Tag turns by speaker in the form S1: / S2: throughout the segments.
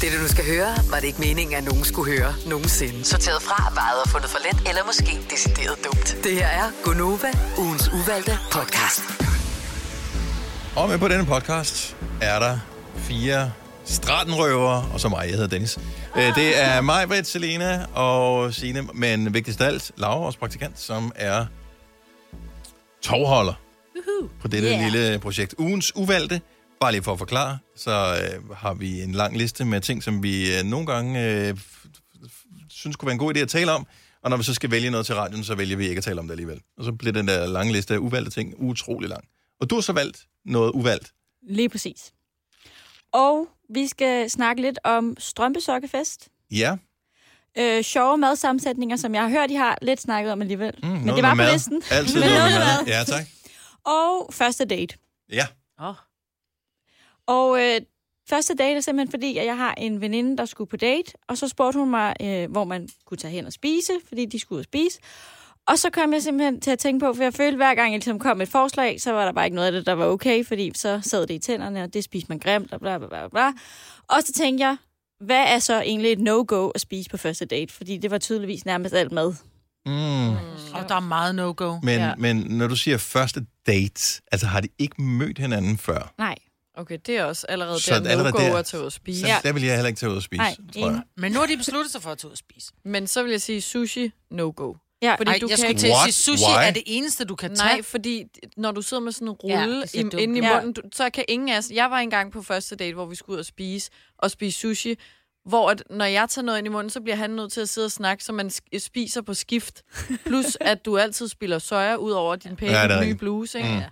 S1: Det, du nu skal høre, var det ikke meningen, at nogen skulle høre nogensinde. Sorteret fra, vejet og fundet for let, eller måske decideret dumt. Det her er Gonova, ugens uvalgte podcast.
S2: Og med på denne podcast er der fire stratenrøvere, og så mig, jeg hedder Dennis. Øh, Det er mig, Britt, Selena og Signe, men vigtigst af alt, Laura, vores praktikant, som er tovholder på dette
S3: Yeah.
S2: yeah. lille projekt. Ugens uvalgte, bare lige for at forklare, så øh, har vi en lang liste med ting, som vi øh, nogle gange øh, f- f- synes kunne være en god idé at tale om, og når vi så skal vælge noget til radioen, så vælger vi ikke at tale om det alligevel. Og så bliver den der lange liste af uvalgte ting utrolig lang. Og du har så valgt noget uvalgt.
S3: Lige præcis. Og vi skal snakke lidt om strømpesokkefest.
S2: Ja,
S3: Øh, sjove madsammensætninger, som jeg har hørt, I har lidt snakket om alligevel. Mm, Men
S2: noget
S3: det var på
S2: med mad.
S3: listen.
S2: Altid
S3: Men
S2: noget,
S3: noget
S2: med
S3: med
S2: mad. Ja, tak.
S3: Og første date.
S2: Ja.
S4: Åh,
S3: Og øh, første date er simpelthen fordi, at jeg har en veninde, der skulle på date, og så spurgte hun mig, øh, hvor man kunne tage hen og spise, fordi de skulle ud og spise. Og så kom jeg simpelthen til at tænke på, for jeg følte, hver gang jeg ligesom kom med et forslag, så var der bare ikke noget af det, der var okay, fordi så sad det i tænderne, og det spiste man grimt, og bla bla bla bla. Og så tænkte jeg, hvad er så egentlig et no-go at spise på første date? Fordi det var tydeligvis nærmest alt mad.
S2: Mm.
S4: og der er meget no-go.
S2: Men, ja.
S5: Ja.
S2: men når du siger første date, altså har de ikke mødt hinanden før?
S3: Nej.
S5: Okay, det er også allerede
S2: Så
S5: der,
S2: er det allerede
S5: allerede
S2: der.
S5: der. at tage ud og
S2: Så
S5: spise.
S2: ja.
S5: Ja.
S2: der vil jeg heller ikke tage ud og spise,
S3: Nej,
S2: tror jeg.
S3: enig.
S4: Men nu har de besluttet sig for at tage ud og spise.
S5: Men så vil jeg sige sushi, no-go.
S3: Ja,
S5: Fordi
S4: Ej,
S5: du
S4: jeg
S5: kan
S4: skulle
S5: ikke...
S4: til at
S2: What?
S4: sige, sushi
S2: Why?
S4: er det eneste, du kan tage.
S5: Nej, fordi når du sidder med sådan en
S4: Ja,
S5: rulle
S4: det ser
S5: ja,
S4: dumt
S5: inde i
S3: ud. Ja.
S5: munden, du, så kan ingen af os... Jeg var engang på første date, hvor vi skulle ud og spise, og spise sushi, hvor at, når jeg tager noget ind i munden, så bliver han nødt til at sidde og snakke, så man sk- spiser på skift. Plus, at du altid spiller soja ud over din pæne
S2: Ja, det er
S5: ja, nye
S2: rigtigt.
S5: bluse, ikke?
S2: Mm.
S5: Mm.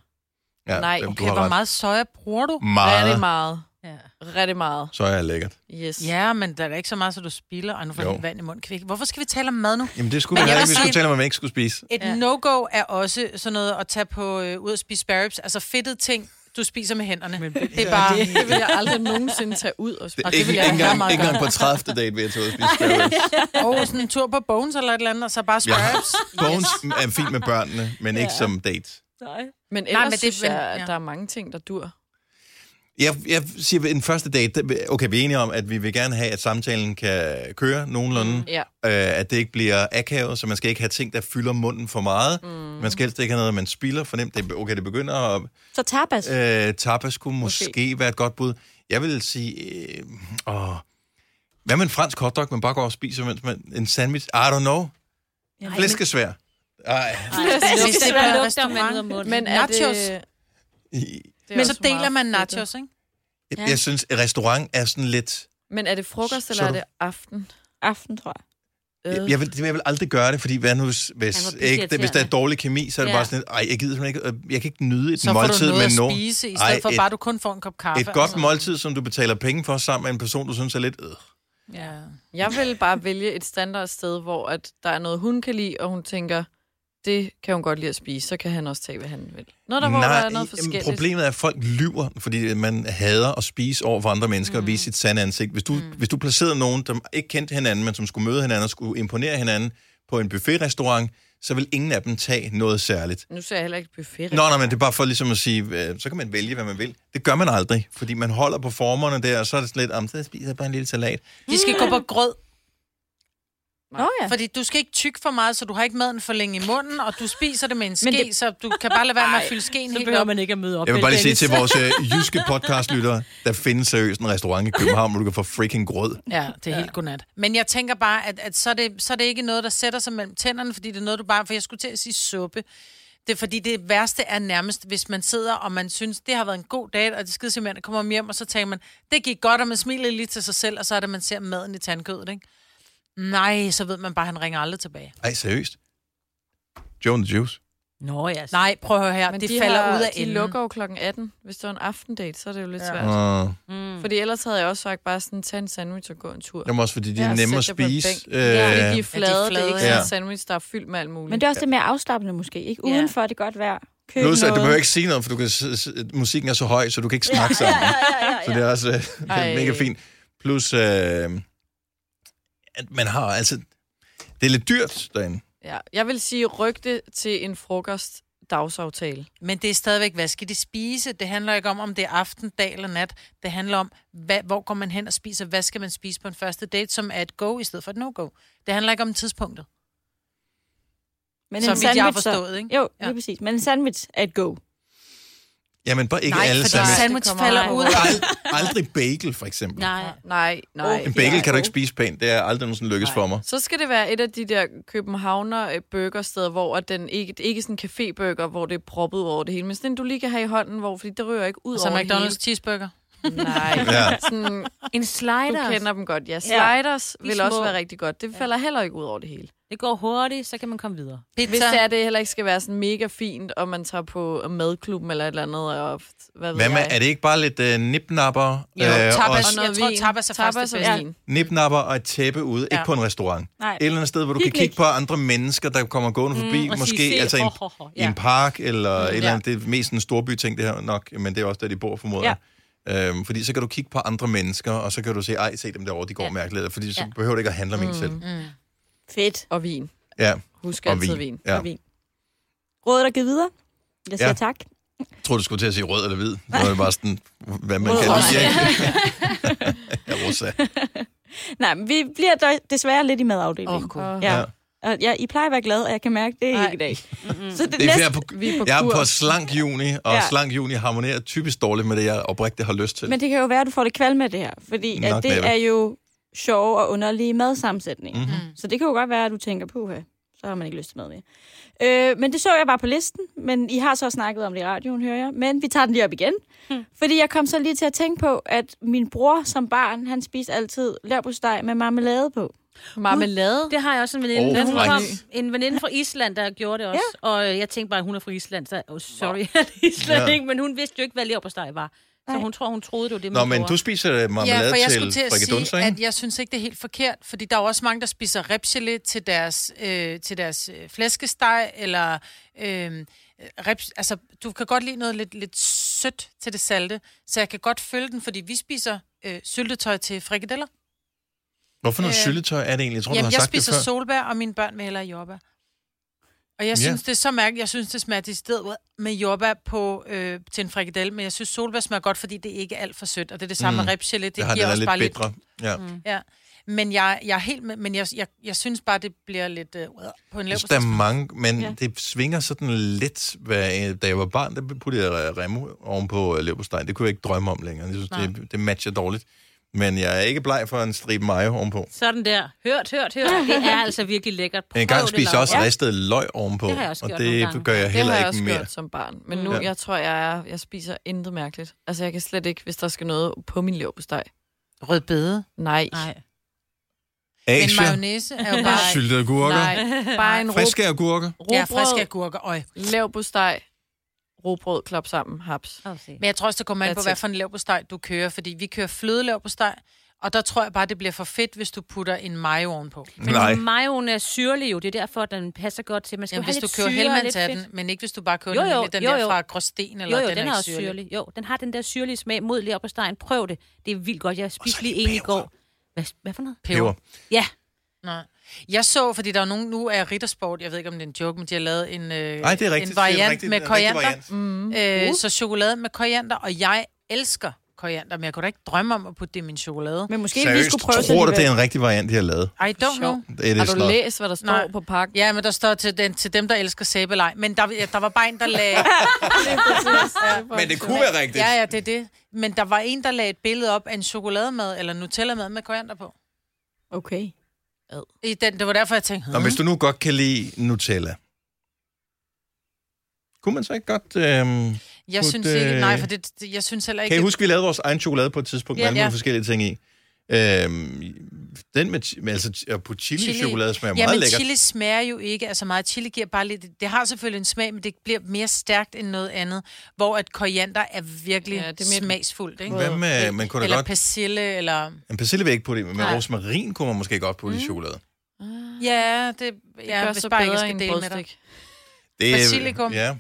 S2: Ja,
S5: Nej,
S2: dem, du
S4: Okay,
S2: har
S4: hvor
S2: ret. Mm.
S4: meget soja bruger du?
S5: Rigtig
S2: Meget.
S5: meget.
S4: Ja.
S5: Rigtig meget.
S2: Så er jeg lækkert.
S5: Yes.
S4: ja, men der er da ikke så meget, så du spiller. Ej, nu får
S2: Jo.
S4: jeg helt vand i munden. Kan vi ikke- Hvorfor skal vi tale om mad nu?
S2: Jamen det skulle vi
S4: Men jeg
S2: heller ikke.
S4: vil
S2: Vi skulle
S4: sige-
S2: tale om, at man ikke skulle spise.
S4: Et ja.
S5: Ja.
S4: no-go er også sådan noget at tage på, øh, ud og spise spare ribs. Altså fedtede ting, du spiser med hænderne. Men, det er bare...
S5: Det vil jeg aldrig nogensinde tage ud og spise.
S2: Det,
S4: Og
S2: og
S4: det
S2: ikke,
S4: vil jeg
S2: ikke,
S4: gøre
S2: engang,
S4: meget
S2: ikke engang på 30. date vil jeg tage ud og spise spare ribs.
S4: Og sådan en tur på Bones eller et eller andet, og så bare spare
S2: Ja.
S4: ribs.
S2: Bones er fint med børnene, men ikke
S3: Ja.
S2: som date.
S3: Nej.
S5: Men ellers Nej,
S4: men det-
S5: men det, synes
S4: men-
S5: jeg,
S4: ja.
S5: at der er mange ting, der dur.
S2: Jeg, jeg siger, at en første date, der- okay, vi er enige om, at vi vil gerne have, at samtalen kan køre nogenlunde. Mm.
S5: Ja.
S2: øh, at det ikke bliver akavet, så man skal ikke have ting, der fylder munden for meget. Mm. Man skal helst ikke have noget, man spilder for nemt. Det, okay, det begynder at...
S3: Så tapas.
S2: Øh, tapas kunne måske okay.
S5: Måske.
S2: være et godt bud. Jeg vil sige... Øh, åh, hvad med en fransk hotdog, man bare går og spiser, mens man... En sandwich? I don't know.
S3: Jamen,
S2: Flæskesvær. Ej,
S4: Hvis det er på en restaurant.
S5: Men er
S4: Nachos.
S5: Det, det er
S4: Men
S5: også
S4: så deler
S5: meget
S4: man
S5: fedt,
S4: nachos, ikke?
S2: jeg, jeg synes, at restaurant er sådan lidt...
S5: det. Men er det frokost,
S2: Så
S5: eller
S2: du-
S5: er det aften? Øh,
S3: Aften, tror jeg.
S2: Jeg, jeg, vil, jeg vil aldrig gøre det, fordi hvad nu, hvis, hvis, ikke, hvis der er dårlig kemi, så er det
S5: Ja.
S2: bare sådan, lidt, ej, jeg gider simpelthen ikke, øh, jeg kan ikke nyde et
S4: Så får du
S2: måltid
S4: noget
S2: med
S4: at
S2: nogen.
S4: spise, i
S2: Ej,
S4: stedet for
S2: et-
S4: bare, du kun får en kop kaffe. Altså.
S2: Et godt måltid, som du betaler penge for sammen med en person, du synes er lidt... Øh.
S4: Ja.
S5: Jeg vil bare vælge et standardsted, hvor at der er noget, hun kan lide, og hun tænker, det kan hun godt lide at spise, så kan han også tage, hvad han vil. Nå, der, hvor der er noget
S2: jamen,
S5: forskelligt.
S2: problemet er, at folk lyver, fordi man hader at spise over for andre mennesker mm. og vise
S4: Mhm.
S2: sit sande ansigt. Hvis du, mm. hvis du placerede nogen, der ikke kendte hinanden, men som skulle møde hinanden og skulle imponere hinanden på en buffetrestaurant, så vil ingen af dem tage noget særligt.
S5: Nu ser jeg heller ikke buffet.
S2: Nå, nej, men det er bare for ligesom at sige, øh, så kan man vælge, hvad man vil. Det gør man aldrig, fordi man holder på formerne der, og så er det sådan lidt, om så spiser jeg bare en lille salat.
S4: De skal gå på grød,
S3: Nå ja.
S4: fordi du skal ikke tykke for meget, så du har ikke maden for længe i munden, og du spiser det med en ske,
S6: Men
S4: det...
S6: det-
S4: så du kan bare lade være med at fylde skeen
S6: Så
S4: helt
S6: behøver
S4: op.
S6: man ikke at møde op.
S2: Jeg vil bare lige sige
S6: Dennis.
S2: til vores øh, jyske podcastlyttere, der findes seriøst en restaurant i København, hvor du kan få freaking grød.
S4: Ja, det er helt godnat. Men jeg tænker bare, at, at så, er det, så er det ikke noget, der sætter sig mellem tænderne, fordi det er noget, du bare... For jeg skulle til at sige suppe. Det er fordi, det værste er nærmest, hvis man sidder, og man synes, det har været en god dag, og det skide simpelthen, og kommer man hjem, og så tænker man, det gik godt, og man smiler lige til sig selv, og så er det, at man ser maden i tandkødet, ikke? Nej, så ved man bare, at han ringer aldrig tilbage.
S2: Ej, seriøst? Joe and the Juice?
S6: Nå ja,
S4: Nej, prøv at høre her,
S5: Men
S4: det
S5: de
S4: falder
S5: har,
S4: ud af
S5: De
S4: enden.
S5: lukker jo klokken 18. Hvis det var en aftendate, så er det jo lidt
S4: Ja.
S5: ja. Mm. svært.
S2: Uh,
S5: Fordi ellers havde jeg også sagt bare sådan, tag en sandwich og gå en tur.
S2: jamen også fordi, de
S5: Ja,
S2: er
S5: sæt
S2: nemme at
S5: dig på en
S2: spise.
S5: bænk.
S2: Øh,
S5: Ja, fordi
S2: ja,
S5: de er flade, det er
S4: flade,
S5: ikke sådan
S2: ja.
S5: en sandwich, der er fyldt med alt muligt.
S3: Men det er også det mere afslappende måske, ikke?
S4: Ja.
S3: Udenfor er det godt vejr. Køb
S2: Plus, at du
S3: noget.
S2: behøver ikke sige noget, for du kan, s- s- musikken er så høj, så du kan ikke snakke sammen. Ja, ja, ja, ja, ja. Så det er også øh,
S5: Ej.
S2: mega fint. Plus, øh, at man har altså... Det er lidt dyrt derinde.
S5: Ja, jeg vil sige, ryg det til en frokost. dagsaftale.
S4: Men det er stadigvæk, hvad skal de spise? Det handler ikke om, om det er aften, dag eller nat. Det handler om, hvad, hvor går man hen og spiser? Hvad skal man spise på en første date, som er et go i stedet for et no-go? Det handler ikke om tidspunktet.
S3: Men
S4: Som
S3: en
S4: vidt jeg har
S3: sandwich så-
S4: forstået, ikke?
S3: Jo,
S4: Ja.
S3: ja. lige præcis. Men en sandwich er et go.
S2: Jamen, bare ikke
S4: Nej,
S2: alle
S4: for sandwich,
S2: sandwich.
S4: sandwich
S5: kommer
S4: falder
S5: meget
S4: ud.
S2: Ald, aldrig bagel, for eksempel.
S5: Nej, nej, nej.
S2: En bagel kan du ikke spise pænt. Det er aldrig nogensinde lykkes for mig.
S5: Så skal det være et af de der københavner øh, burgersteder, hvor at den ikke, det er ikke sådan en caféburger, hvor det er proppet over det hele, men sådan en, du lige kan have i hånden, hvor, fordi det rører ikke ud
S4: Som
S5: over det
S4: Altså McDonald's cheeseburger.
S5: hele. Nej,
S2: Ja.
S5: sådan,
S6: En slider.
S5: du kender dem godt. Ja, sliders
S6: De
S5: ja. vil også
S6: små.
S5: være rigtig godt. Det falder heller ikke ud over det hele.
S6: Det går hurtigt, så kan man komme videre.
S5: Hvis
S4: Pizza.
S5: det er, det heller ikke skal være sådan mega fint, og man tager på øh, madklubben eller et eller andet, og hvad ved
S2: Hvad med,
S5: jeg.
S2: er det ikke bare lidt øh, nipnapper? øh,
S4: Jo, tapas.
S2: og s-
S4: Jeg tror, tapas er
S5: tapas
S4: første
S5: og
S4: bedste.
S5: vin.
S2: nipnapper og et tæppe ude. Ja.
S4: Ja.
S2: Ikke på en restaurant.
S3: Nej.
S2: Et eller andet sted, hvor du kan
S3: Picnic.
S2: kigge på andre mennesker, der kommer gående forbi. Mm,
S6: og
S2: måske
S6: sige, se,
S2: altså i en,
S6: ho, ho, ho,
S2: i
S6: ja.
S2: en park, eller et eller
S4: ja.
S2: andet. Det er mest en storbyting, det her nok. Men det er også der, de bor, formoder. Ja. Øhm, fordi så kan du kigge på andre mennesker, og så kan du se, ej, se dem derovre, de går ja. mærkeligt. Fordi så
S6: Ja.
S2: behøver du ikke at handle om mm. en selv.
S3: Fedt.
S5: Og vin.
S2: Ja,
S5: Husk
S2: og
S5: altid
S2: vin.
S5: vin. vin.
S2: Ja.
S3: Og vin. Rådet er givet videre. Jeg siger
S2: Ja.
S3: ja. tak.
S2: Jeg tror du skulle til at sige rød eller hvid. Det var bare sådan, hvad man
S3: Rød
S2: kan
S3: rosa.
S2: lide. ikke? ja, rosa.
S3: Nej, men vi bliver dog desværre lidt i madafdelingen.
S4: Åh, gud.
S3: ja.
S2: Ja.
S3: Og jeg, I plejer at være glade, og jeg kan mærke, det er I ikke i dag. Mm-hmm. Så det,
S2: Det er, fordi jeg,
S3: næste,
S2: er på,
S5: Vi er på
S2: jeg er på
S5: kurs.
S2: slank juni, og ja.
S3: Ja.
S2: slank juni harmonerer typisk dårligt med det, jeg oprigtigt har lyst til.
S3: men det kan jo være, at du får det kvalm med det her, fordi
S2: Nok
S3: at
S2: med det.
S3: det er jo sjove og underlige madsammensætninger.
S2: Mhm.
S3: Mm. Så det kan jo godt være, at du tænker, puha, så har man ikke lyst til mad mere. Øh, men det så jeg bare på listen, men I har så snakket om det i radioen, hører jeg. Men vi tager den lige op igen. Mm. Fordi jeg kom så lige til at tænke på, at min bror som barn, han spiste altid lærbrusteg med marmelade på.
S5: Marmelade.
S6: Det har jeg også en veninde.
S2: Åh,
S6: Oh, hun
S2: frækt.
S6: kom, en veninde fra Island, der gjorde det også. Ja. Og øh, jeg tænkte bare, at hun er fra Island. Så, oh, sorry, Island,
S2: Ja.
S6: ja. ikke? Men hun vidste jo ikke, hvad leverpostej var. Så
S3: Nej.
S6: hun tror, hun troede, det var det,
S2: Nå,
S6: man
S2: men
S6: gjorde.
S2: du spiser øh,
S4: Ja,
S2: marmelade
S4: for jeg
S2: til,
S4: skulle til at
S2: frikadunser,
S4: sige,
S2: ikke?
S4: at jeg synes ikke, det er helt forkert, fordi der er jo også mange, der spiser ribsgelé til deres, øh, til deres øh, flæskesteg, eller øh, ribs, altså, du kan godt lide noget lidt, lidt sødt til det salte, så jeg kan godt følge den, fordi vi spiser øh, syltetøj til frikadeller.
S2: Hvorfor noget
S4: Øh,
S2: syltetøj er det egentlig? Jeg tror,
S4: Jamen,
S2: du har
S4: jeg
S2: sagt det
S4: spiser
S2: før.
S4: solbær, og mine børn vil hellere jordbær. Og jeg
S2: Ja.
S4: synes, det er så mærkeligt. Jeg synes, det smager til stedet med jordbær på, øh, til en frikadelle, men jeg synes, solbær smager godt, fordi det ikke er alt for sødt. Og det er det samme
S2: Mm.
S4: mm. med ribsgelé. Det,
S2: jeg har
S4: giver
S2: det der
S4: også
S2: lidt
S4: bare lidt Mm,
S2: bedre. Ja.
S4: Ja, men jeg, jeg er helt med, men jeg, jeg, jeg synes bare, det bliver lidt øh, på en lav
S2: Jeg synes, der er mange, men ja.
S3: Ja.
S2: det svinger sådan lidt. Hvad, øh, da jeg var barn, der puttede jeg øh, remo ovenpå leverpostej. Det kunne jeg ikke drømme om længere. Jeg synes,
S4: Nej.
S2: det, det matcher dårligt. Men jeg er ikke bleg for en stribe mayo ovenpå.
S6: Sådan der. Hørt, hørt, hørt. Det er altså virkelig lækkert. Prøv
S2: En gang
S6: det,
S2: spiste jeg
S6: Laura.
S2: også ristet løg ovenpå,
S6: Det har jeg også
S2: og
S6: gjort nogle gange.
S2: det gør jeg
S5: Det har
S2: heller
S5: jeg
S2: ikke
S5: også
S2: mere.
S5: gjort som barn. Men nu,
S2: Ja.
S5: ja. jeg tror, jeg, er, jeg spiser intet mærkeligt. Altså, jeg kan slet ikke, hvis der skal noget på min leverpostej.
S4: Rød bede.
S5: Nej.
S6: Nej.
S4: Men
S2: Asia,
S4: mayonnaise er jo bare...
S2: syltede agurker,
S5: Nej. Bare en
S2: friske agurker.
S4: Ja, friske
S5: råbrød,
S4: agurker. Øj.
S5: leverpostej, råbrød, klop sammen, haps.
S6: Prøv at se.
S4: Men jeg tror også, det kommer an på,
S5: That's
S4: hvad
S5: it.
S4: for en lav på steg du kører, fordi vi kører flødelav på steg, og der tror jeg bare, det bliver for fedt, hvis du putter en mayo ovenpå.
S6: Men
S2: Nej.
S6: mayoen er syrlig jo. Det er derfor, at den passer godt til. Man skal
S4: Jamen,
S6: Jamen, jo
S4: hvis
S6: have
S4: du
S6: lidt
S4: kører
S6: syre og
S4: helmand
S6: lidt
S4: af
S6: fedt.
S4: den, men ikke hvis du bare kører
S6: Jo,
S4: den,
S6: jo,
S4: med den
S6: jo,
S4: der
S6: jo.
S4: fra Gråsten, eller
S6: Jo, jo,
S4: den,
S6: den, er,
S4: ikke
S6: også syrlig. Jo, den har den der syrlige smag mod leverpostejen. Prøv det. Det er vildt godt. Jeg spiste lige en i går. Hvad, hvad for noget?
S2: Peber.
S6: Ja,
S4: Nej. Jeg så, fordi der er nogen, nu er Riddersport, jeg ved ikke, om det er en joke, men de har lavet en, øh,
S2: Nej, det er rigtigt.
S4: en
S2: Det er en
S4: variant
S2: rigtig-
S4: med
S2: en rigtig
S4: koriander.
S2: variant.
S4: Mm.
S2: Mm-hmm.
S4: Øh, så chokolade med koriander, og jeg elsker koriander, men jeg kunne da ikke drømme om at putte det i min chokolade.
S3: Men måske vi
S2: Seriøst,
S3: skulle prøve
S2: tror du, det
S3: alligevel.
S2: er en rigtig variant, de har lavet?
S4: I don't know.
S2: Det er
S5: Har
S2: det
S5: du
S2: snot.
S5: læst, hvad der står
S4: Nej.
S5: på pakken?
S4: Ja, men der står til, den, til dem, der elsker sæbelej. Men der, ja, der var bare en, der lagde...
S2: Men det kunne være rigtigt.
S4: ja, ja, det er det. Men der var en, der lagde et billede op af en chokolademad eller Nutella-mad med koriander på.
S3: Okay.
S4: I den, det var derfor, jeg tænkte...
S2: Og hvis du nu godt kan lide Nutella, kunne man så ikke godt... Øhm,
S4: Jeg
S2: Put,
S4: synes ikke... Nej,
S2: øh,
S4: for det, det- jeg synes heller ikke...
S2: kan I huske, vi lavede vores egen chokolade på et tidspunkt, ja, med
S4: Ja.
S2: alle ja.
S4: Ja.
S2: forskellige ting i? Øhm, den med, chi- med altså, at putte chili, chili.
S4: Chili.
S2: chokolade smager
S4: Ja,
S2: meget
S4: men
S2: lækkert.
S4: chili smager jo ikke altså meget. Chili giver bare lidt... Det har selvfølgelig en smag, men det bliver mere stærkt end noget andet. Hvor at koriander er virkelig
S5: Ja,
S4: ja,
S5: det er mere-
S4: mere... smagsfuldt, ikke?
S2: Hvad med, man kunne da
S4: eller
S2: godt...
S4: persille, eller...
S2: En persille vil jeg ikke putte i, men
S4: Nej.
S2: rosmarin kunne man måske godt putte mm. i chokolade.
S4: Ja, det, ja,
S5: Det gør
S4: hvis
S5: så
S4: bare ikke
S5: bedre
S4: skal
S5: end
S4: dele med dig.
S5: brødstik.
S2: Det, er-
S4: Basilikum.
S2: Ja.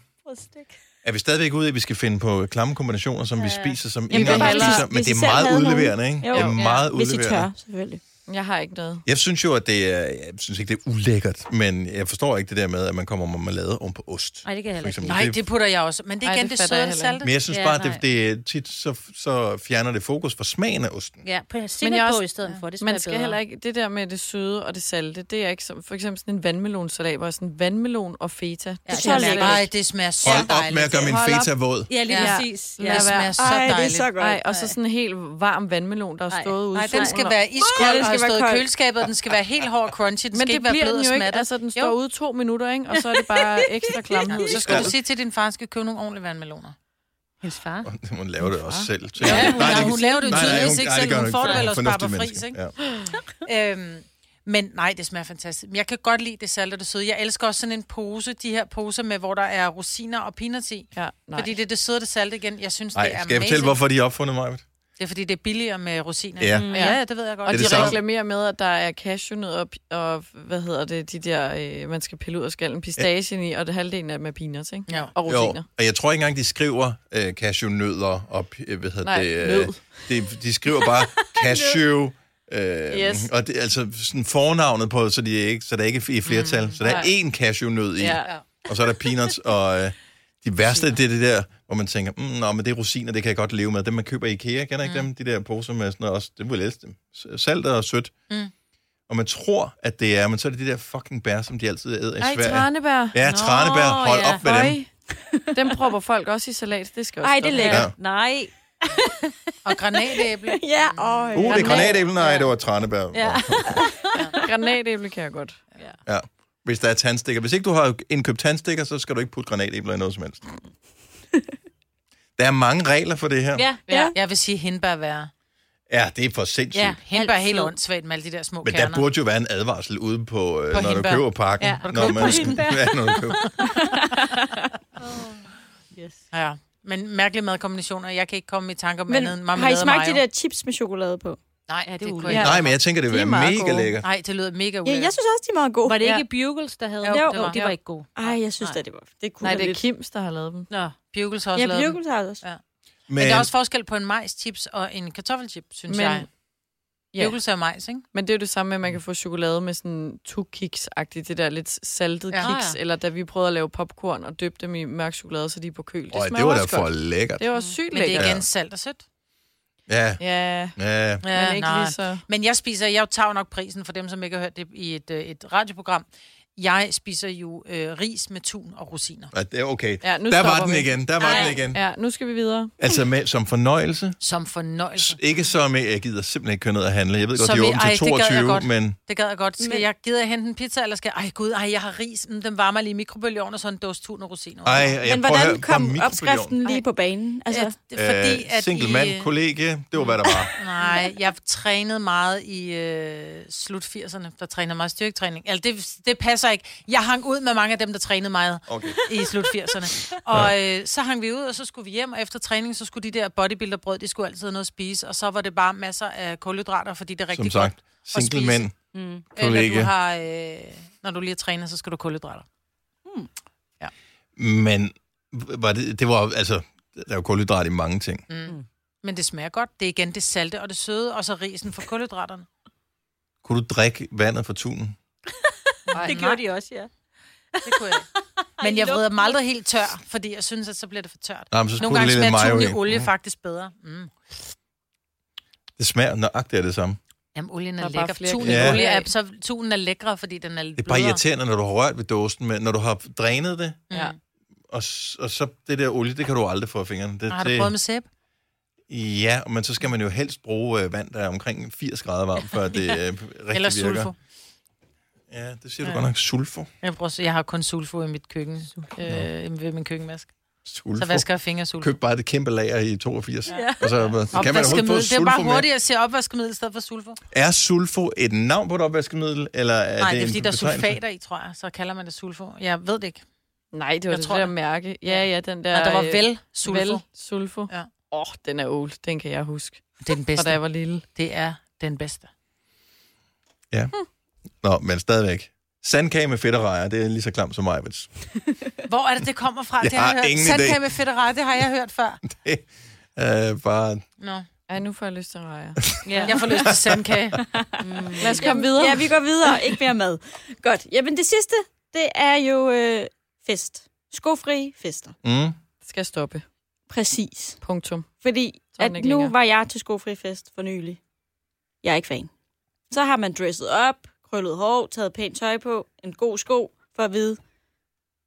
S2: Er vi stadigvæk ude i, at vi skal finde på klamme kombinationer, som ja. vi spiser, som ingen
S3: det er
S2: andre
S3: bare,
S2: spiser?
S3: hvis-
S2: Men
S3: hvis
S2: det
S3: I
S2: er
S3: selv
S2: meget
S3: havde nogen.
S2: udleverende, ikke?
S3: Jo.
S2: det er
S3: Ja.
S2: meget
S3: Hvis I
S2: udleverende.
S3: tør, selvfølgelig.
S5: Jeg har ikke noget.
S2: Jeg synes jo, at det er, jeg synes ikke, det er ulækkert, men jeg forstår ikke det der med, at man kommer med marmelade oven på ost.
S6: Nej, det kan jeg heller ikke.
S2: eksempel.
S4: Nej, det putter jeg også. Men det er
S5: Ej,
S4: igen det,
S5: det fatter
S4: søde
S5: jeg
S4: og det
S5: heller ikke.
S4: salte.
S2: Men jeg synes
S6: Ja,
S2: bare, det,
S6: nej.
S2: det, er tit så, så fjerner det fokus fra smagen af osten.
S6: Ja, på men
S5: jeg
S6: jeg på
S5: også-
S6: i stedet for. Det
S5: Man
S6: smager
S5: skal
S6: bedre.
S5: heller ikke, det der med det søde og det salte, det er ikke som, for eksempel sådan en vandmelonsalat, hvor jeg er sådan vandmelon og feta.
S6: Ja,
S5: det
S6: det er
S5: smager
S6: lækkert.
S5: godt.
S4: Nej, det smager så
S2: Hold op
S4: dejligt.
S2: med at gøre min
S5: Hold op.
S2: feta våd.
S6: Ja, lige
S4: Ja.
S6: præcis. Ja.
S4: Det
S5: Lad være.
S4: smager så
S3: Ej, det er
S4: dejligt.
S3: så godt.
S5: Nej, og så sådan en helt varm vandmelon, der har
S6: Ej.
S5: stået ude. i
S6: Ej,
S4: Den
S5: solen
S4: skal
S5: og-
S4: være iskold,
S3: Ja,
S4: ja,
S3: den
S4: og
S3: skal
S4: stå
S3: være
S4: i
S3: kold.
S4: køleskabet, og den skal være helt hård og crunchy. Den
S5: Men
S4: skal
S5: det
S4: ikke være
S5: bliver
S4: blød
S5: den
S4: og
S5: jo ikke.
S4: smattet.
S5: Altså, den står jo. ude to minutter, ikke? Og så er det bare ekstra klamhed.
S4: Så skal du sige til din far, skal købe nogle ordentlige vandmeloner.
S6: Hendes far.
S2: Hun laver det også selv. tænker jeg.
S4: Ja, hun,
S2: Nej,
S4: nej,
S2: det-
S4: hun laver det jo
S2: nej, nej,
S4: tydeligvis
S2: hun-
S4: ikke
S2: nej, det
S4: selv.
S2: gør
S4: Hun får det
S2: Hun er
S4: ellers
S2: en
S4: bare
S2: fornuftig
S4: på fris,
S2: menneske.
S4: ikke?
S2: Ja.
S4: Øhm, men nej, det smager fantastisk. Men jeg kan godt lide det salte og det søde. Jeg elsker også sådan en pose, de her poser med, hvor der er rosiner og peanuts i.
S5: Ja, nej.
S4: Fordi det er det søde og det salte igen. Jeg synes, det er
S2: Nej, skal jeg fortælle,
S4: amazing.
S2: hvorfor de er opfundet mig? Det
S4: Det er fordi, det er billigere med rosiner.
S2: Ja.
S4: Mm, ja, ja, det ved jeg godt.
S5: Og
S2: det
S5: de
S2: samme?
S5: reklamerer med, at der er cashewnødder og, pi- og hvad hedder det, de der, øh, man skal pille ud af skallen, pistacien i, og det halvdelen af dem er peanuts, ikke?
S4: Ja.
S5: Og rosiner.
S2: og jeg tror ikke engang, de skriver øh, cashewnødder og p- øh, hvad hedder
S5: Nej,
S2: det?
S5: nød.
S2: de, de skriver bare cashew. Øh,
S5: Yes.
S2: Og det, altså sådan fornavnet på, så, de er ikke, så der er ikke i flertal. Mm, så der er
S5: nej.
S2: én cashewnød i,
S5: Ja.
S2: og så er der peanuts, og øh, de værste, det er det der, hvor man tænker, mm, nå, men det er rosiner, det kan jeg godt leve med. Dem, man køber i IKEA, kender ikke dem? De der poser med sådan noget, også, det vil jeg elske dem. S- Salt og sødt. Mm. Og man tror, at det er, men så er det de der fucking bær, som de altid æder i
S5: Ej,
S2: Sverige.
S5: tranebær.
S2: Ja, tranebær. Hold
S6: ja.
S2: op med dem.
S5: Øj. Dem propper folk også i salat. Det skal også
S3: Ej, det er
S5: stoppe.
S3: lækkert.
S2: Ja.
S6: Nej.
S4: Og granatæble.
S3: Ja, øj.
S2: Uh, det er granatæblen, nej, det var tranebær. Ja.
S5: Granatæble kan jeg godt.
S2: ja. Hvis der er tandstikker. Hvis ikke du har indkøbt tandstikker, så skal du ikke putte granatæbler i noget som helst. Der er mange regler for det her.
S6: Ja,
S3: Ja.
S4: Jeg vil sige hindbær er værre.
S2: Ja, det er for sindssygt.
S6: ja.
S2: Ja.
S4: Hindbær er helt
S6: Altid.
S4: åndssvagt med alle de der små
S2: Men der
S4: kerner.
S2: burde jo være en advarsel ude på, øh,
S4: På
S2: på når
S4: hindbær.
S2: du køber pakken.
S6: Ja,
S2: når
S6: når du køber
S2: man,
S6: hindbær.
S2: ja, når du køber.
S4: Ja. Men mærkelige madkombinationer. Jeg kan ikke komme i tanke om
S3: Men
S4: andet end marmelade
S3: har I
S4: og
S3: smagt
S4: mayo.
S3: de der chips med chokolade på?
S4: Nej, ja, det,
S6: det
S4: det
S6: er
S4: kunne
S6: ulækkert.
S4: jeg
S2: Nej, men jeg tænker, det vil
S3: De er
S2: være
S3: meget
S2: mega
S3: gode.
S2: lækkert.
S4: ikke. Nej, det lyder mega
S3: Ja,
S4: ulækkert.
S3: jeg synes også, de er meget gode.
S6: Var det ikke Bugles, der havde
S4: Jo,
S6: dem?
S4: det
S6: Jo,
S4: var.
S6: de var ikke gode.
S3: Ej, jeg synes da, det var... Det kunne
S5: Nej,
S3: være
S5: det er
S3: lidt.
S5: Kims, der har lavet dem.
S6: Nå.
S4: Bjørkels har
S3: Ja,
S4: også lavet dem.
S3: Bjørkels har det også.
S4: Ja.
S2: Men,
S4: Men der er også forskel på en majschips og en kartoffelchip, synes
S5: Men-
S4: men, jeg.
S5: ja.
S4: Bjørkels er majs, ikke?
S5: Men det er jo det samme med, at
S2: Mm.
S5: man kan få chokolade med sådan to kiks agtigt det der lidt saltet
S4: Ja.
S5: ja, kiks,
S4: Ja.
S5: eller da vi prøvede at lave popcorn og døbte dem i mørk chokolade, så de er på køl. Det
S2: Øj,
S5: smager
S2: det var da
S5: også
S2: for
S5: godt.
S2: lækkert.
S5: Det var sygt
S4: Men det er
S5: lækkert.
S4: igen
S2: Ja.
S4: salt og sødt.
S2: Ja,
S5: Ja,
S2: ja.
S5: ja, men ikke
S4: nej.
S5: lige så...
S4: Men jeg spiser, jeg tager jo nok prisen for dem, som ikke har hørt det i et, øh, et radioprogram. Jeg spiser jo øh, ris med tun og rosiner.
S2: ja det er okay.
S5: Ja, nu
S2: der var
S5: stopper
S2: den
S5: vi.
S2: igen, der var den igen.
S5: Ja, nu skal vi videre.
S2: Altså med, som fornøjelse.
S4: Som
S2: S-
S4: fornøjelse.
S2: Ikke som, øh, jeg gider simpelthen ikke køre ned og handle. Jeg ved godt,
S4: Som
S2: de er
S4: i-
S2: åbent
S4: ej,
S2: til
S4: det gad jeg
S2: 22,
S4: godt.
S2: men
S4: Det gad jeg godt. Skal
S3: Men-
S4: jeg, gider jeg hente en pizza, eller skal jeg... Ej gud, ej, jeg har ris. Mm, Den varmer lige i mikrobølgeovnen, og så en dåse tun og rosiner.
S2: Ej, jeg
S3: Men
S2: prøver at
S3: hvordan
S2: høre,
S3: kom
S2: mikrobølgeovnen.
S3: opskriften lige på banen? Altså,
S4: Altså,
S2: Øh,
S4: fordi at
S2: single
S4: I, øh,
S2: mand, kollega, det var hvad der var.
S4: Nej, jeg trænede meget i øh, slut 80'erne, der trænede meget styrketræning. Altså, det, det passer ikke. Jeg hang ud med mange af dem, der trænede meget
S2: Okay.
S4: i slut 80'erne. Og øh, så hang vi ud, og så skulle vi hjem, og efter træning, så skulle de der bodybuilderbrød, de skulle altid have noget at spise, og så var det bare masser af kulhydrater, fordi det er
S2: Som
S4: rigtig
S2: sagt,
S4: at
S2: single
S4: spise.
S2: mænd,
S4: godt. Øh, når,
S2: kollega.
S4: du har, øh, når du lige har trænet, så skal du have kulhydrater.
S2: Men var det, det var jo- altså, der er jo kulhydrat i mange ting.
S4: Men det smager godt. Det er igen det salte og det søde, og så risen for kulhydraterne.
S2: Kunne du drikke vandet fra tunen?
S4: Ej,
S6: Det
S4: nej,
S6: gjorde de også, ja.
S4: det kunne jeg ikke. Men jeg vrider dem aldrig helt tør, fordi jeg synes, at så bliver det for tørt.
S2: Nej, men så
S4: Nogle
S2: skulle
S4: gange
S2: det lidt
S4: smager
S2: mayo
S4: tun i
S2: i.
S4: olie faktisk bedre. Mm.
S2: Det smager nøjagtigt af det samme.
S4: Jamen, olien
S5: Der
S4: er
S5: er bare
S4: lækker.
S5: flere
S4: Tun i
S2: knapper.
S4: olie
S5: Ja.
S4: er, så tunen er lækre, fordi den er lidt
S2: Det er bare
S4: blødere. Mm.
S2: irriterende, når du har rørt ved dåsen, men når du har drænet det,
S5: Ja.
S2: og, s- og så det der olie, det kan du aldrig få af fingrene. Det,
S4: Har du
S2: det,
S4: prøvet med sæbe?
S2: Ja, men så skal man jo helst bruge øh, vand, der er omkring 80 grader varmt, før det øh, rigtig
S4: Eller
S2: virker.
S4: sulfo.
S2: Ja, det siger du godt nok. Sulfo.
S4: Jeg, bruger, jeg har kun sulfo i mit køkken, øh, ved min køkkenvask.
S2: sulfo.
S4: Så vasker jeg fingre af sulfo.
S2: Køb bare det kæmpe lager i 82. Ja. Og så, øh, så kan man overhovedet få
S4: Opvaskemiddel. Det er
S2: sulfo
S4: bare
S2: med.
S4: hurtigt at se opvaskemiddel i stedet for sulfo.
S2: Er sulfo et navn på et opvaskemiddel, eller er
S4: Nej, det
S2: det
S4: er fordi,
S2: en
S4: der er
S2: betegnelse?
S4: sulfater i, tror jeg. Så kalder man det sulfo. Jeg ved det ikke.
S5: Nej, det var
S4: Jeg
S5: jeg det,
S4: tror
S5: tror, der
S4: det.
S5: mærke. Ja, ja, den der...
S4: Men der var
S5: øh,
S4: vel sulfo.
S5: Vel sulfo. Åh,
S4: Ja.
S5: ja. oh, den er old. Den kan jeg huske.
S4: Det er den
S5: Fra da jeg
S4: bedste.
S5: var lille.
S4: Det er den bedste.
S2: Nå, men stadigvæk. Sandkage med fedt og rejer, det er lige så klamt som Ejvits.
S4: Hvor er det, det kommer fra?
S2: Jeg
S4: det har
S2: har
S4: jeg hørt.
S2: ingen idé.
S4: Sandkage med fedtere, det har jeg hørt før.
S2: Øh, bare
S4: Nå.
S5: Ej, nu får jeg lyst til rejer.
S6: Ja.
S4: Jeg får lyst til sandkage.
S5: Lad os komme videre.
S3: mm. Ja, vi går videre. Ikke mere mad. Godt. Jamen, det sidste, det er jo øh, fest. Skofri fester.
S2: Mm.
S5: skal stoppe.
S3: Præcis.
S5: Punktum.
S3: Fordi
S5: Så er
S3: at
S5: den
S3: nu
S5: ikke længere.
S3: var jeg til skofri fest for nylig. Jeg er ikke fan. Så har man dresset op, krøllet hår, taget pænt tøj på, en god sko for at vide,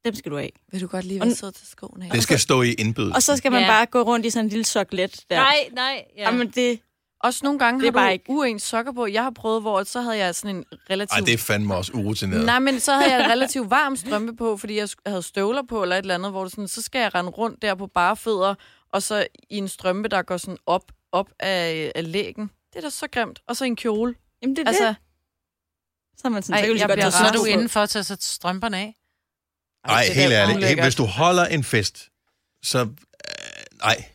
S3: dem skal du af.
S5: Vil du godt lige
S3: Og
S5: være
S3: n-
S5: siddet til skoen her?
S2: Det skal stå i indbydelsen.
S3: Og så skal man
S6: Ja.
S3: bare gå rundt i sådan en lille soklet der.
S6: Nej, nej. Ja.
S3: Jamen, det,
S5: Også nogle gange
S3: Det er
S5: har
S3: bare
S5: du
S3: ikke-
S5: uens sokker på. Jeg har prøvet, hvor så havde jeg sådan en relativt...
S2: Ej, det er fandme også urutineret.
S5: Nej, men så havde jeg en relativt varm strømpe på, fordi jeg sk- havde støvler på eller et eller andet, hvor det sådan, så skal jeg rende rundt der på bare fødder, og så i en strømpe, der går sådan op, op af, af lægen. Det er da så grimt. Og så en kjole.
S3: jamen det er altså,
S5: Altså,
S3: det. Så er man sådan,
S5: Ej,
S3: så kan du lige
S5: jeg
S3: godt
S5: bliver
S3: tage
S4: Så er
S5: rasende.
S3: sådan
S4: du
S3: noget på.
S4: indenfor til at sætte strømperne af.
S2: Nej,
S5: det er
S2: helt
S5: da
S2: ærligt.
S5: ulækkert.
S2: Helt- Hvis du holder en fest, så... Øh, nej,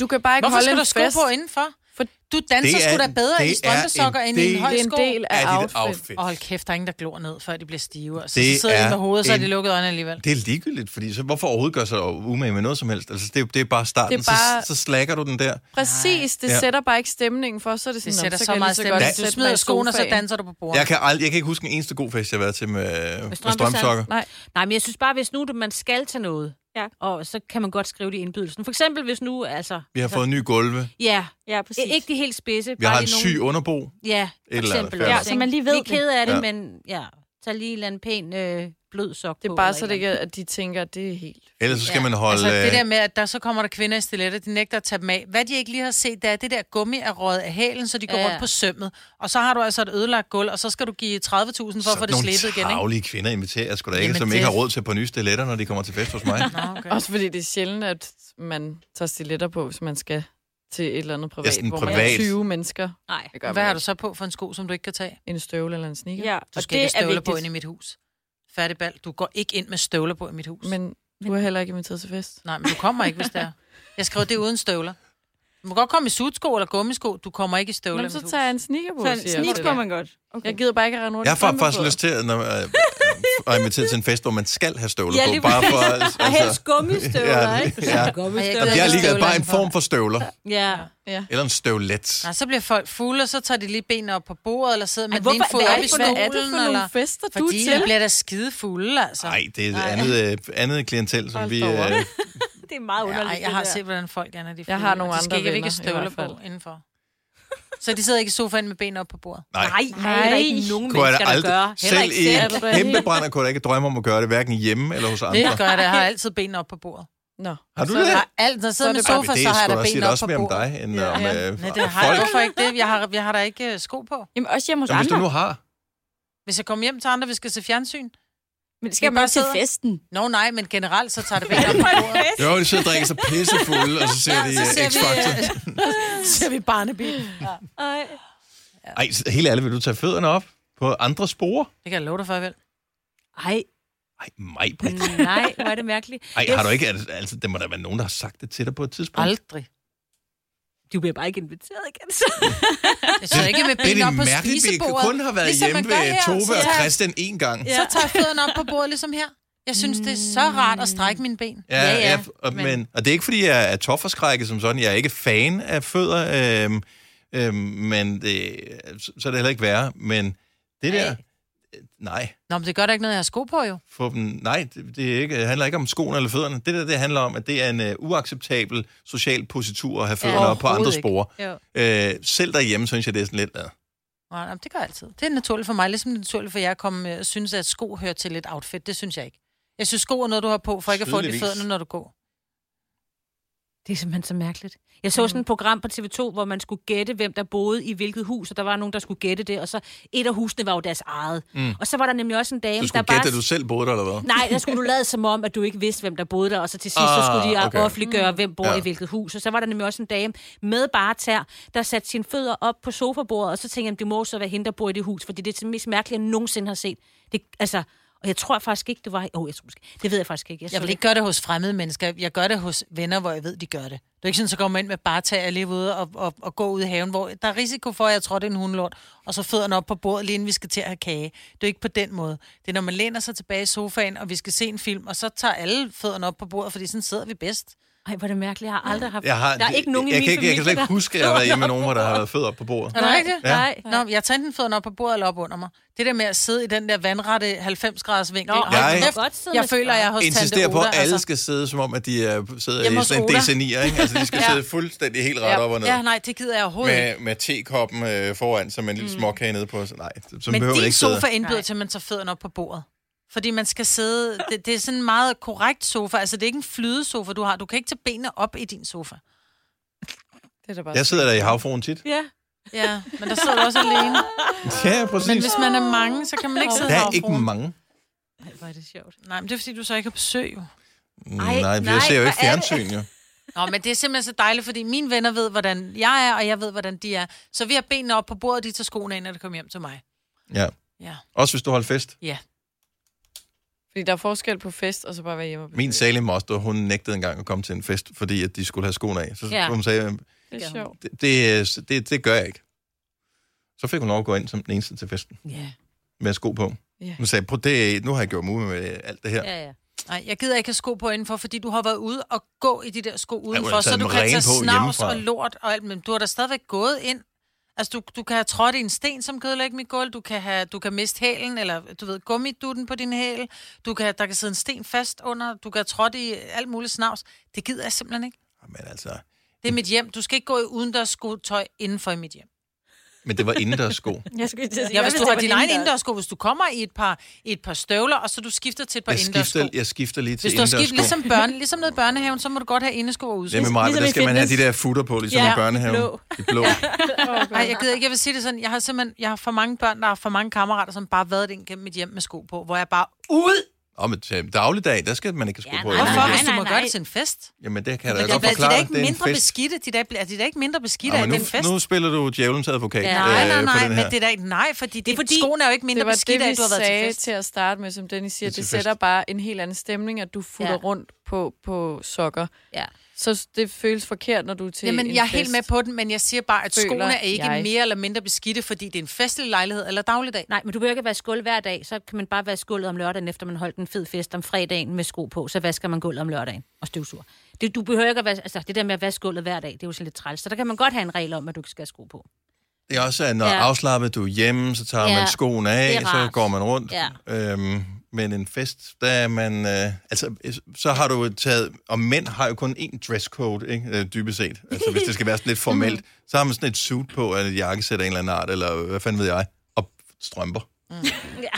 S5: du kan bare ikke
S4: Hvorfor
S5: holde
S4: skal
S5: en
S4: du sko
S5: fest.
S4: på indenfor? For du danser
S2: Det er-
S4: sgu da bedre
S2: det
S4: i
S2: er
S4: strømpesokker
S2: en
S4: end i en
S2: del-
S4: høj
S5: Det er
S4: sko.
S5: en del af
S2: er dit
S5: outfit.
S2: outfit.
S4: Og hold kæft, der er ingen, der glor ned, før de bliver stive. Og så,
S2: Det
S4: så sidder
S2: er
S4: de med hovedet, så er
S2: en-
S4: de lukket øjnene alligevel.
S2: Det er ligegyldigt, fordi så hvorfor overhovedet gøre sig umage med noget som helst? Altså, det, er- det er bare starten,
S5: Det er bare-
S2: Så, så slækker du den der.
S5: Præcis, det
S2: Ja.
S5: sætter bare ikke stemningen for, så er det sådan,
S4: Det
S5: "Nå,
S4: sætter
S5: så,
S4: så
S5: kan
S4: meget
S5: jeg lige så
S4: stemning. Du
S5: godt sætte
S4: smider
S5: mig i
S4: skoene, og så
S5: sofaen."
S4: danser du på bordet.
S2: Jeg kan, aldrig, jeg kan ikke huske en eneste god fest, jeg har været til med, med, med
S6: strømpesand.
S2: strømsokker.
S5: Nej,
S6: Nej, men jeg synes bare, hvis nu du- man skal til noget,
S3: Ja.
S6: og så kan man godt skrive det i indbydelsen. For eksempel, hvis nu, altså...
S2: Vi har fået nye gulve.
S6: Ja,
S3: Ja, præcis.
S6: I- ikke de helt spidse.
S2: Vi har
S6: bare
S2: en
S6: lige
S2: syg underbo.
S6: Ja, for
S2: eller andet,
S6: eksempel.
S2: fair
S3: Ja,
S6: også,
S3: så
S6: ikke?
S3: man lige ved
S6: Vi er ked af det,
S2: Ja.
S6: ja. men ja, tag lige en eller anden pæn øh, blød sok
S5: det
S6: på,
S5: er bare
S6: eller
S5: så
S6: et
S5: det
S6: eller
S5: ikke, er, at de tænker, at det er helt...
S2: Ellers så skal
S6: Ja,
S2: man holde...
S4: Altså det der
S2: øh,
S4: med, at der så kommer der kvinder i stiletter, de nægter at tage dem af. Hvad de ikke lige har set, det er, at det der gummi er røget af hælen, så de går
S6: Ja.
S4: rundt på sømmet. Og så har du altså et ødelagt gulv, og så skal du give 30.000 for at få det slippet igen, ikke?
S2: øh, nogle travlige kvinder inviterer jeg sgu da ikke,
S4: Jamen,
S2: som
S4: det-
S2: ikke har råd til et par nye stiletter, når de kommer til fest hos mig.
S4: Okay.
S5: Også fordi det er sjældent, at man tager stiletter på, hvis man skal til et eller andet privat,
S2: Ja, sådan
S5: hvor man
S2: privat.
S5: er 20 mennesker.
S6: andet.
S5: Det gør
S4: Hvad
S5: man
S4: har du
S5: ikke.
S4: så på for en sko, som du ikke kan tage?
S5: En støvle eller en sneaker.
S3: Ja,
S4: Du
S3: og
S4: skal
S3: det
S4: ikke
S3: er
S4: have støvler på
S3: vigtigt.
S4: ind i mit hus. Færdig bal. Du går ikke ind med støvler på i mit hus. Men...
S5: Men du er heller ikke inviteret til fest.
S4: Nej, men du kommer ikke, hvis det er. Jeg skrev det er uden støvler. Du må godt komme i sutsko eller gummisko. Du kommer ikke i støvler Nå,
S5: Nå,
S4: i mit
S5: så
S4: hus.
S5: tager jeg en sneaker på,
S3: Så en
S5: siger jeg.
S3: snit kunne man godt.
S5: Jeg gider bare ikke at rende rundt
S2: Jeg
S5: i
S2: får
S5: strømper
S2: faktisk
S5: på.
S2: lyst til at, når, øh, at invitere til en fest, hvor man skal have støvler
S3: Ja, lige
S2: på. Bare for, altså,
S3: Og helst gummistøvler,
S2: ja,
S3: ikke?
S2: ja.
S4: Jeg
S2: Jeg er ligeglad,
S4: Støvler
S2: bare en
S4: indenfor.
S2: form for støvler.
S6: Ja.
S2: Eller en støvlet.
S4: Nej, så bliver folk fulde, og så tager de lige benene op på bordet, eller sidder med
S6: hvorfor-
S4: den ene fod
S6: hvad er
S4: op
S6: det
S4: i
S6: for nogle-
S4: stolen.
S5: Hvad er det for
S4: eller...
S5: nogle fester, du er
S4: Fordi
S5: til?
S4: jeg bliver da skide fulde, altså.
S2: Nej, det er et andet, øh, andet klientel, som vi... Øh,
S3: Det er meget
S4: Ja,
S3: underligt.
S4: ej, jeg har set, hvordan folk er, når de er fulde.
S5: Jeg har nogle
S4: og de skal
S5: andre
S4: ikke,
S5: venner,
S4: ikke
S5: i
S4: støvler
S5: hvert fald.
S4: på indenfor. Så de sidder ikke i sofaen med benene op på bordet.
S2: nej,
S6: Nej, nej, der er ikke nogen
S2: kunne jeg
S6: mennesker,
S2: da
S6: der gør.
S2: aldrig...
S6: Heller
S2: Selv
S6: ikke
S2: i
S6: selv.
S5: Er du da
S2: en kæmpe brænder kunne jeg da ikke drømme om at gøre det, hverken hjemme eller hos andre.
S4: Det gør det. Jeg har altid benene op på bordet.
S5: Nå.
S2: Har du
S4: Så
S2: det?
S4: jeg har alt, når jeg sidder
S5: Så
S4: med
S5: er det
S2: Ej, men
S4: sofa, så har jeg
S2: sgu
S4: da
S2: også-
S4: benene
S2: da
S4: op
S2: også
S4: på
S2: mere om dig,
S4: bordet.
S2: end
S5: Ja.
S2: om
S5: Ja.
S2: øh,
S4: Nej, det har jeg.
S2: folk.
S4: Hvorfor ikke det? Jeg har, jeg har da ikke øh, sko på.
S3: Jamen, også hjemme hos
S2: Jamen, hvis du
S3: andre.
S2: nu har...
S4: Hvis jeg kommer hjem til andre, vi skal se fjernsyn.
S3: Men
S4: Vi
S3: skal man
S4: bare
S3: også til
S4: sidder.
S3: festen?
S4: Nå no, nej, men generelt, så tager det benene op på bordet.
S2: Jo, de sidder og drikker sig pissefulde, og så ser de
S4: så
S2: øh,
S4: ser vi,
S2: X-Factor.
S4: øh, så ser vi Barnaby. Ja.
S3: Ej.
S2: Ej, så helt ærligt, vil du tage fødderne op på andre spore?
S4: Det kan jeg love dig for, vel?
S6: Ej,
S2: Ej, mig, Britt.
S6: nej, hvor er det mærkeligt.
S2: Ej, har du ikke... al- Altså, der må der være nogen, der har sagt det til dig på et tidspunkt.
S4: Aldrig.
S6: Du bliver bare ikke inviteret igen, så.
S4: Jeg sidder ikke med
S2: det er
S4: benene op på
S2: mærkeligt, vi
S4: spisebordet.
S2: kun har været
S4: ligesom man
S2: hjemme
S4: gør
S2: ved
S4: her.
S2: Tove
S4: Så
S2: og
S4: tager-
S2: Christian én gang.
S4: Så tager jeg fødderne op på bordet, ligesom her. Jeg synes, det er så rart at strække mine ben.
S2: Ja, ja, ja og, men...
S6: men-
S2: og det er ikke, fordi jeg er tofferskrækket som sådan. Jeg er ikke fan af fødder, øhm, øhm, men det, så så er det heller ikke værre. Men det der... øh, Nej,
S4: Nå, men det gør da ikke noget, jeg har sko på, jo.
S2: få dem, nej det, det er ikke, det handler ikke om skoene eller fødderne. Det der, det handler om, at det er en uh, uacceptabel social positur at have fødderne ja, op på andre
S4: overhovedet ikke.
S2: spor. Øh,
S6: Jo.
S2: selv derhjemme, synes jeg, det er sådan lidt... Uh,
S4: Nej, nej, men det gør jeg altid. Det er naturligt for mig, ligesom det er naturligt for jer at komme øh, og synes, at sko hører til et outfit. Det synes jeg ikke. Jeg synes, sko er noget, du har på, for ikke at få det i
S2: Tydeligvis.
S4: fødderne, når du går.
S6: Det er simpelthen så mærkeligt. Jeg så sådan et program på TV2, hvor man skulle gætte, hvem der boede i hvilket hus, og der var nogen, der skulle gætte det, og så et af husene var jo deres eget. Mm. Og så var der nemlig også en dame,
S2: du
S6: der
S2: skulle
S6: bare...
S2: gætte, at du selv boede der, eller hvad?
S6: Nej, der skulle du lade som om, at du ikke vidste, hvem der boede der, og så til sidst, så
S2: Ah,
S6: skulle de
S2: okay.
S6: okay. offentliggøre, hvem bor
S2: Ja.
S6: ja. i hvilket hus. Og så var der nemlig også en dame med bare tær, der satte sine fødder op på sofabordet, og så tænkte jeg, det må så være hende, der bor i det hus, fordi det er det mest mærkelige, jeg nogensinde har set. Det, altså, og jeg tror faktisk ikke, det var... Åh, oh, jeg tror måske... Det ved jeg faktisk ikke.
S4: Jeg
S6: så
S4: vil
S6: det.
S4: ikke gøre det hos fremmede mennesker. Jeg gør det hos venner, hvor jeg ved, de gør det. Det er ikke sådan, så går man ind med bare tag og lige ude og, og, og gå ud i haven, hvor der er risiko for, at jeg tror, det er en hundelort, og så fødderne op på bordet, lige inden vi skal til at have kage. Det er ikke på den måde. Det er, når man læner sig tilbage i sofaen, og vi skal se en film, og så tager alle fødderne op på bordet, fordi sådan sidder vi bedst.
S6: Ej, hvor er det mærkeligt. Jeg har aldrig haft...
S2: Jeg har,
S6: der er ikke nogen i
S2: jeg,
S6: min
S2: kan, ikke-
S6: familie,
S2: jeg kan slet ikke
S6: der-
S2: huske, at jeg har været hjemme med nogen, hvor der har været fødder på bordet.
S4: Er det rigtigt?
S2: Ja.
S6: Nej.
S4: Nå, jeg tager enten fødderne op på bordet eller op under mig. Det der med at sidde i den der vandrette 90-graders vinkel.
S6: Nå,
S4: Hold
S2: Jeg-
S4: kæft,
S2: Jeg
S6: må godt sidde
S4: jeg
S6: med
S4: føler, jeg er hos tante
S2: Insisterer
S4: Oda.
S2: på, at alle
S4: altså.
S2: skal sidde, som om at de er, sidder
S4: Hjemme
S2: i
S4: hos
S2: sådan en
S4: Oda.
S2: desenier, ikke? Altså, de skal
S4: Ja.
S2: sidde fuldstændig helt ret op og ned.
S4: Ja, nej, det gider jeg overhovedet ikke. Mm.
S2: med, med tekoppen øh, foran, som en lille småkage nede på. Så, nej, så- så
S4: Men
S2: behøver
S4: din
S2: det ikke
S4: sofa
S2: sidde.
S4: indbyder
S6: Nej.
S4: til, at man tager fødderne op på bordet. Fordi man skal sidde... Det, det er sådan en meget korrekt sofa. Altså, det er ikke en flydesofa, du har. Du kan ikke tage benene op i din sofa.
S5: Det er da bare
S2: Jeg sidder der i havfruen tit.
S6: Ja.
S4: Ja, men der sidder du også alene.
S2: Ja,
S4: Men
S2: præcis.
S4: hvis man er mange, så kan man ikke sidde
S2: Der er
S4: havfruen.
S2: ikke mange.
S6: Ej, hvor er det sjovt.
S4: Nej, men det er, fordi du så ikke har besøg, jo.
S2: Mm, Nej, nej, jeg
S6: nej,
S2: ser jo ikke
S6: hvor er det-
S2: fjernsyn, jo.
S4: Nå, men det er simpelthen så dejligt, fordi mine venner ved, hvordan jeg er, og jeg ved, hvordan de er. Så vi har benene op på bordet, og de tager skoene af, når det kommer hjem til mig.
S2: Ja.
S4: Ja.
S2: Også hvis du holder fest.
S4: Ja.
S5: Fordi der er forskel på fest, og så bare være hjemme og
S4: Mm.
S2: Min
S5: besøge.
S2: salige moster, hun nægtede engang at komme til en fest, fordi at de skulle have skoene af. Så ja.
S6: Ja.
S2: hun sagde,
S5: Det er sjovt.
S2: det, det, det, det gør jeg ikke. Så fik hun lov at gå ind som den eneste til festen
S5: Ja.
S2: med sko på.
S5: Ja.
S2: Hun sagde, på det, nu har jeg gjort mig ud med alt det her.
S6: Ja, ja.
S4: Nej, jeg gider ikke have sko på indenfor, fordi du har været ude og gå i de der sko udenfor,
S2: har
S4: så
S2: taget
S4: du
S2: dem
S4: kan
S2: rene
S4: tage
S2: på
S4: snavs
S2: hjemmefra.
S4: og lort og alt, men du har da stadigvæk gået ind. Altså, du, du kan have trådt i en sten, som kan ødelægge mit gulv. Du kan, have, du kan miste hælen, eller du ved, gummidutten på din hæl. Du kan, der kan sidde en sten fast under. Du kan have trådt i alt muligt snavs. Det gider jeg simpelthen ikke.
S2: Men, altså,
S4: Det er mit hjem. Du skal ikke gå i udendørs skotøj indenfor i mit hjem.
S2: men det var indendørs sko.
S3: Jeg skulle
S5: Altså,
S3: til at sige,
S4: Ja,
S3: hvad
S4: hvis du har
S3: det var
S4: din egen
S3: indendørs?
S4: indendørssko, hvis du kommer i et par, i et par støvler, og så du skifter til et par
S2: Jeg
S4: indendørssko.
S2: skifter, jeg skifter lige til
S4: Hvis du har
S2: indendørs sko.
S4: skiftet, ligesom, børne, ligesom nede i børnehaven, så må du godt have indesko og
S2: Det
S4: udsko.
S2: er med mig,
S3: Ligesom
S2: der
S3: i
S2: skal man have de
S3: fitness.
S2: der futter på, ligesom ja,
S4: Ja,
S2: i børnehaven. Blå.
S6: blå.
S2: I blå.
S4: Nej, jeg gider ikke. Jeg vil sige det sådan. Jeg har simpelthen jeg har for mange børn, der har for mange kammerater, som bare har været ind gennem mit hjem med sko på, hvor jeg bare... Ud!
S2: Og med til dagligdag, øh, der skal man ikke have sko
S6: Ja,
S2: på.
S6: nej,
S2: inden
S4: Hvorfor?
S2: i
S4: Hvis du
S6: nej,
S4: må
S6: nej.
S4: gøre det til en fest.
S2: det. Jamen, det kan jeg da
S4: Det er,
S2: godt
S4: blevet- de er da
S2: forklare.
S4: ikke
S2: Det er en
S4: mindre
S2: fest.
S4: beskidte. De er da ble- er de da ikke mindre beskidte
S2: Nå,
S4: af
S2: men
S4: den fest.
S2: nu, nu spiller du djævelens advokat
S6: Ja.
S2: øh,
S4: Nej, nej,
S2: på
S4: nej,
S2: den
S4: men
S2: her.
S4: det er da ikke... Nej, fordi, det,
S6: er fordi-
S4: skoene er jo ikke mindre
S5: Det var det,
S4: beskidte af,
S5: vi
S4: at du har været til
S5: sagde
S4: fest.
S5: til at starte med, som Dennis siger.
S2: Det er
S5: Det,
S2: til
S5: det
S2: fest.
S5: sætter bare en helt anden stemning, at du futter
S6: Ja.
S5: ja. rundt på, på sokker.
S6: Ja.
S5: Så s- det føles forkert, når du er til
S4: Jamen,
S5: en
S4: jeg er
S5: fest.
S4: helt med på den, men jeg siger bare, at
S5: Føler
S4: skoene er ikke
S5: jeg.
S4: mere eller mindre beskidte, fordi det er en festlig lejlighed eller dagligdag.
S6: Nej, men du behøver ikke at vaske gulv hver dag. Så kan man bare vaske gulvet om lørdagen, efter man holdt en fed fest om fredagen med sko på. Så vasker man gulvet om lørdagen og støvsuger. Det, du behøver ikke at vaske, altså, det der med at vaske gulvet hver dag, det er jo sådan lidt træls. Så der kan man godt have en regel om, at du ikke skal have sko på.
S2: Det er også, at når ja.
S6: Ja.
S2: afslappet du er hjemme, så tager ja.
S6: Ja.
S2: man skoene
S6: Det
S2: af,
S6: er
S2: så
S6: rart.
S2: går man rundt.
S6: Ja.
S2: Øhm, men en fest, der er man... Øh, altså, øh, så har du taget... Og mænd har jo kun én dresscode, ikke? Øh, dybest set. Altså, hvis det skal være sådan lidt
S6: Mhm.
S2: formelt. Så har man sådan et suit på, eller et jakkesæt af en eller anden art, eller hvad fanden ved jeg, og strømper.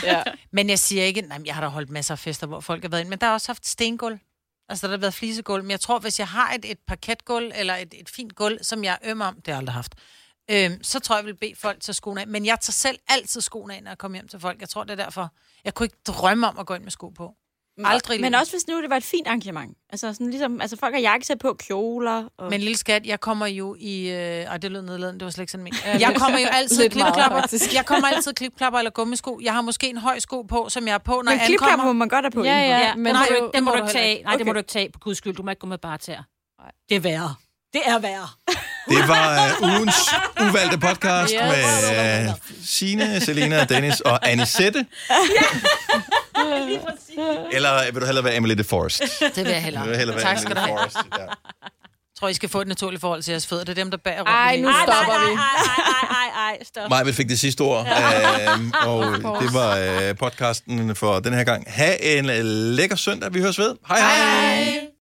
S5: Ja.
S4: Men jeg siger ikke, nej, jeg har da holdt masser af fester, hvor folk har været ind, men der har også haft stengulv. Altså, der har været flisegulv. Men jeg tror, hvis jeg har et, et parketgulv, eller et, et fint gulv, som jeg er øm om, det har jeg aldrig haft, øhm, så tror jeg, jeg vil bede folk tage skoene af. Men jeg tager selv altid skoene af, når jeg kommer hjem til folk. Jeg tror, det er derfor. Jeg kunne ikke drømme om at gå ind med sko på. Aldrig.
S3: Men også hvis nu det var et fint arrangement. Altså, sådan ligesom, altså folk har jakkesæt på, kjoler. Og...
S4: Men lille skat, jeg kommer jo i... Øh, og det lød nedladende, det var slet ikke sådan min. Øh, Jeg kommer jo altid i
S5: Lidt meget,
S4: klipklapper.
S5: faktisk.
S4: Jeg kommer altid i klipklapper eller gummisko. Jeg har måske en høj sko på, som jeg er på, når
S3: Men
S4: jeg
S3: klipklapper må
S4: ankommer.
S3: man godt have på.
S5: Ja,
S3: indenfor.
S5: ja.
S6: Ja,
S5: men
S6: men den må,
S4: det er
S6: du,
S4: jo-
S6: ikke- den må
S4: det
S6: du
S4: må du heller
S6: ikke tage. Nej, okay. det må
S3: Okay.
S6: du ikke tage. På guds skyld, du må ikke gå med bare tæer. Det er værre. Det er værre.
S2: Det var øh, ugens uvalgte podcast
S5: Yes.
S2: med øh, Signe, Selena, Dennis og Anisette. Eller øh, vil du hellere være Emily de Forest?
S4: Det vil jeg
S2: Jeg vil hellere
S4: hellere.
S2: være
S4: Tak
S2: Emily
S4: skal du
S2: de
S4: have.
S2: Forest. Ja.
S4: Jeg tror, I skal få et naturligt forhold til jeres fødder. Det er dem, der bærer rundt.
S5: Ej,
S4: i det
S5: nu
S4: hele.
S5: Ej, stopper vi.
S6: nej, nej, nej, nej, stop.
S2: Maja fik det sidste ord, øhm, og det var øh, podcasten for den her gang. Ha' en øh, lækker søndag. Vi høres ved. Hej hej. hej.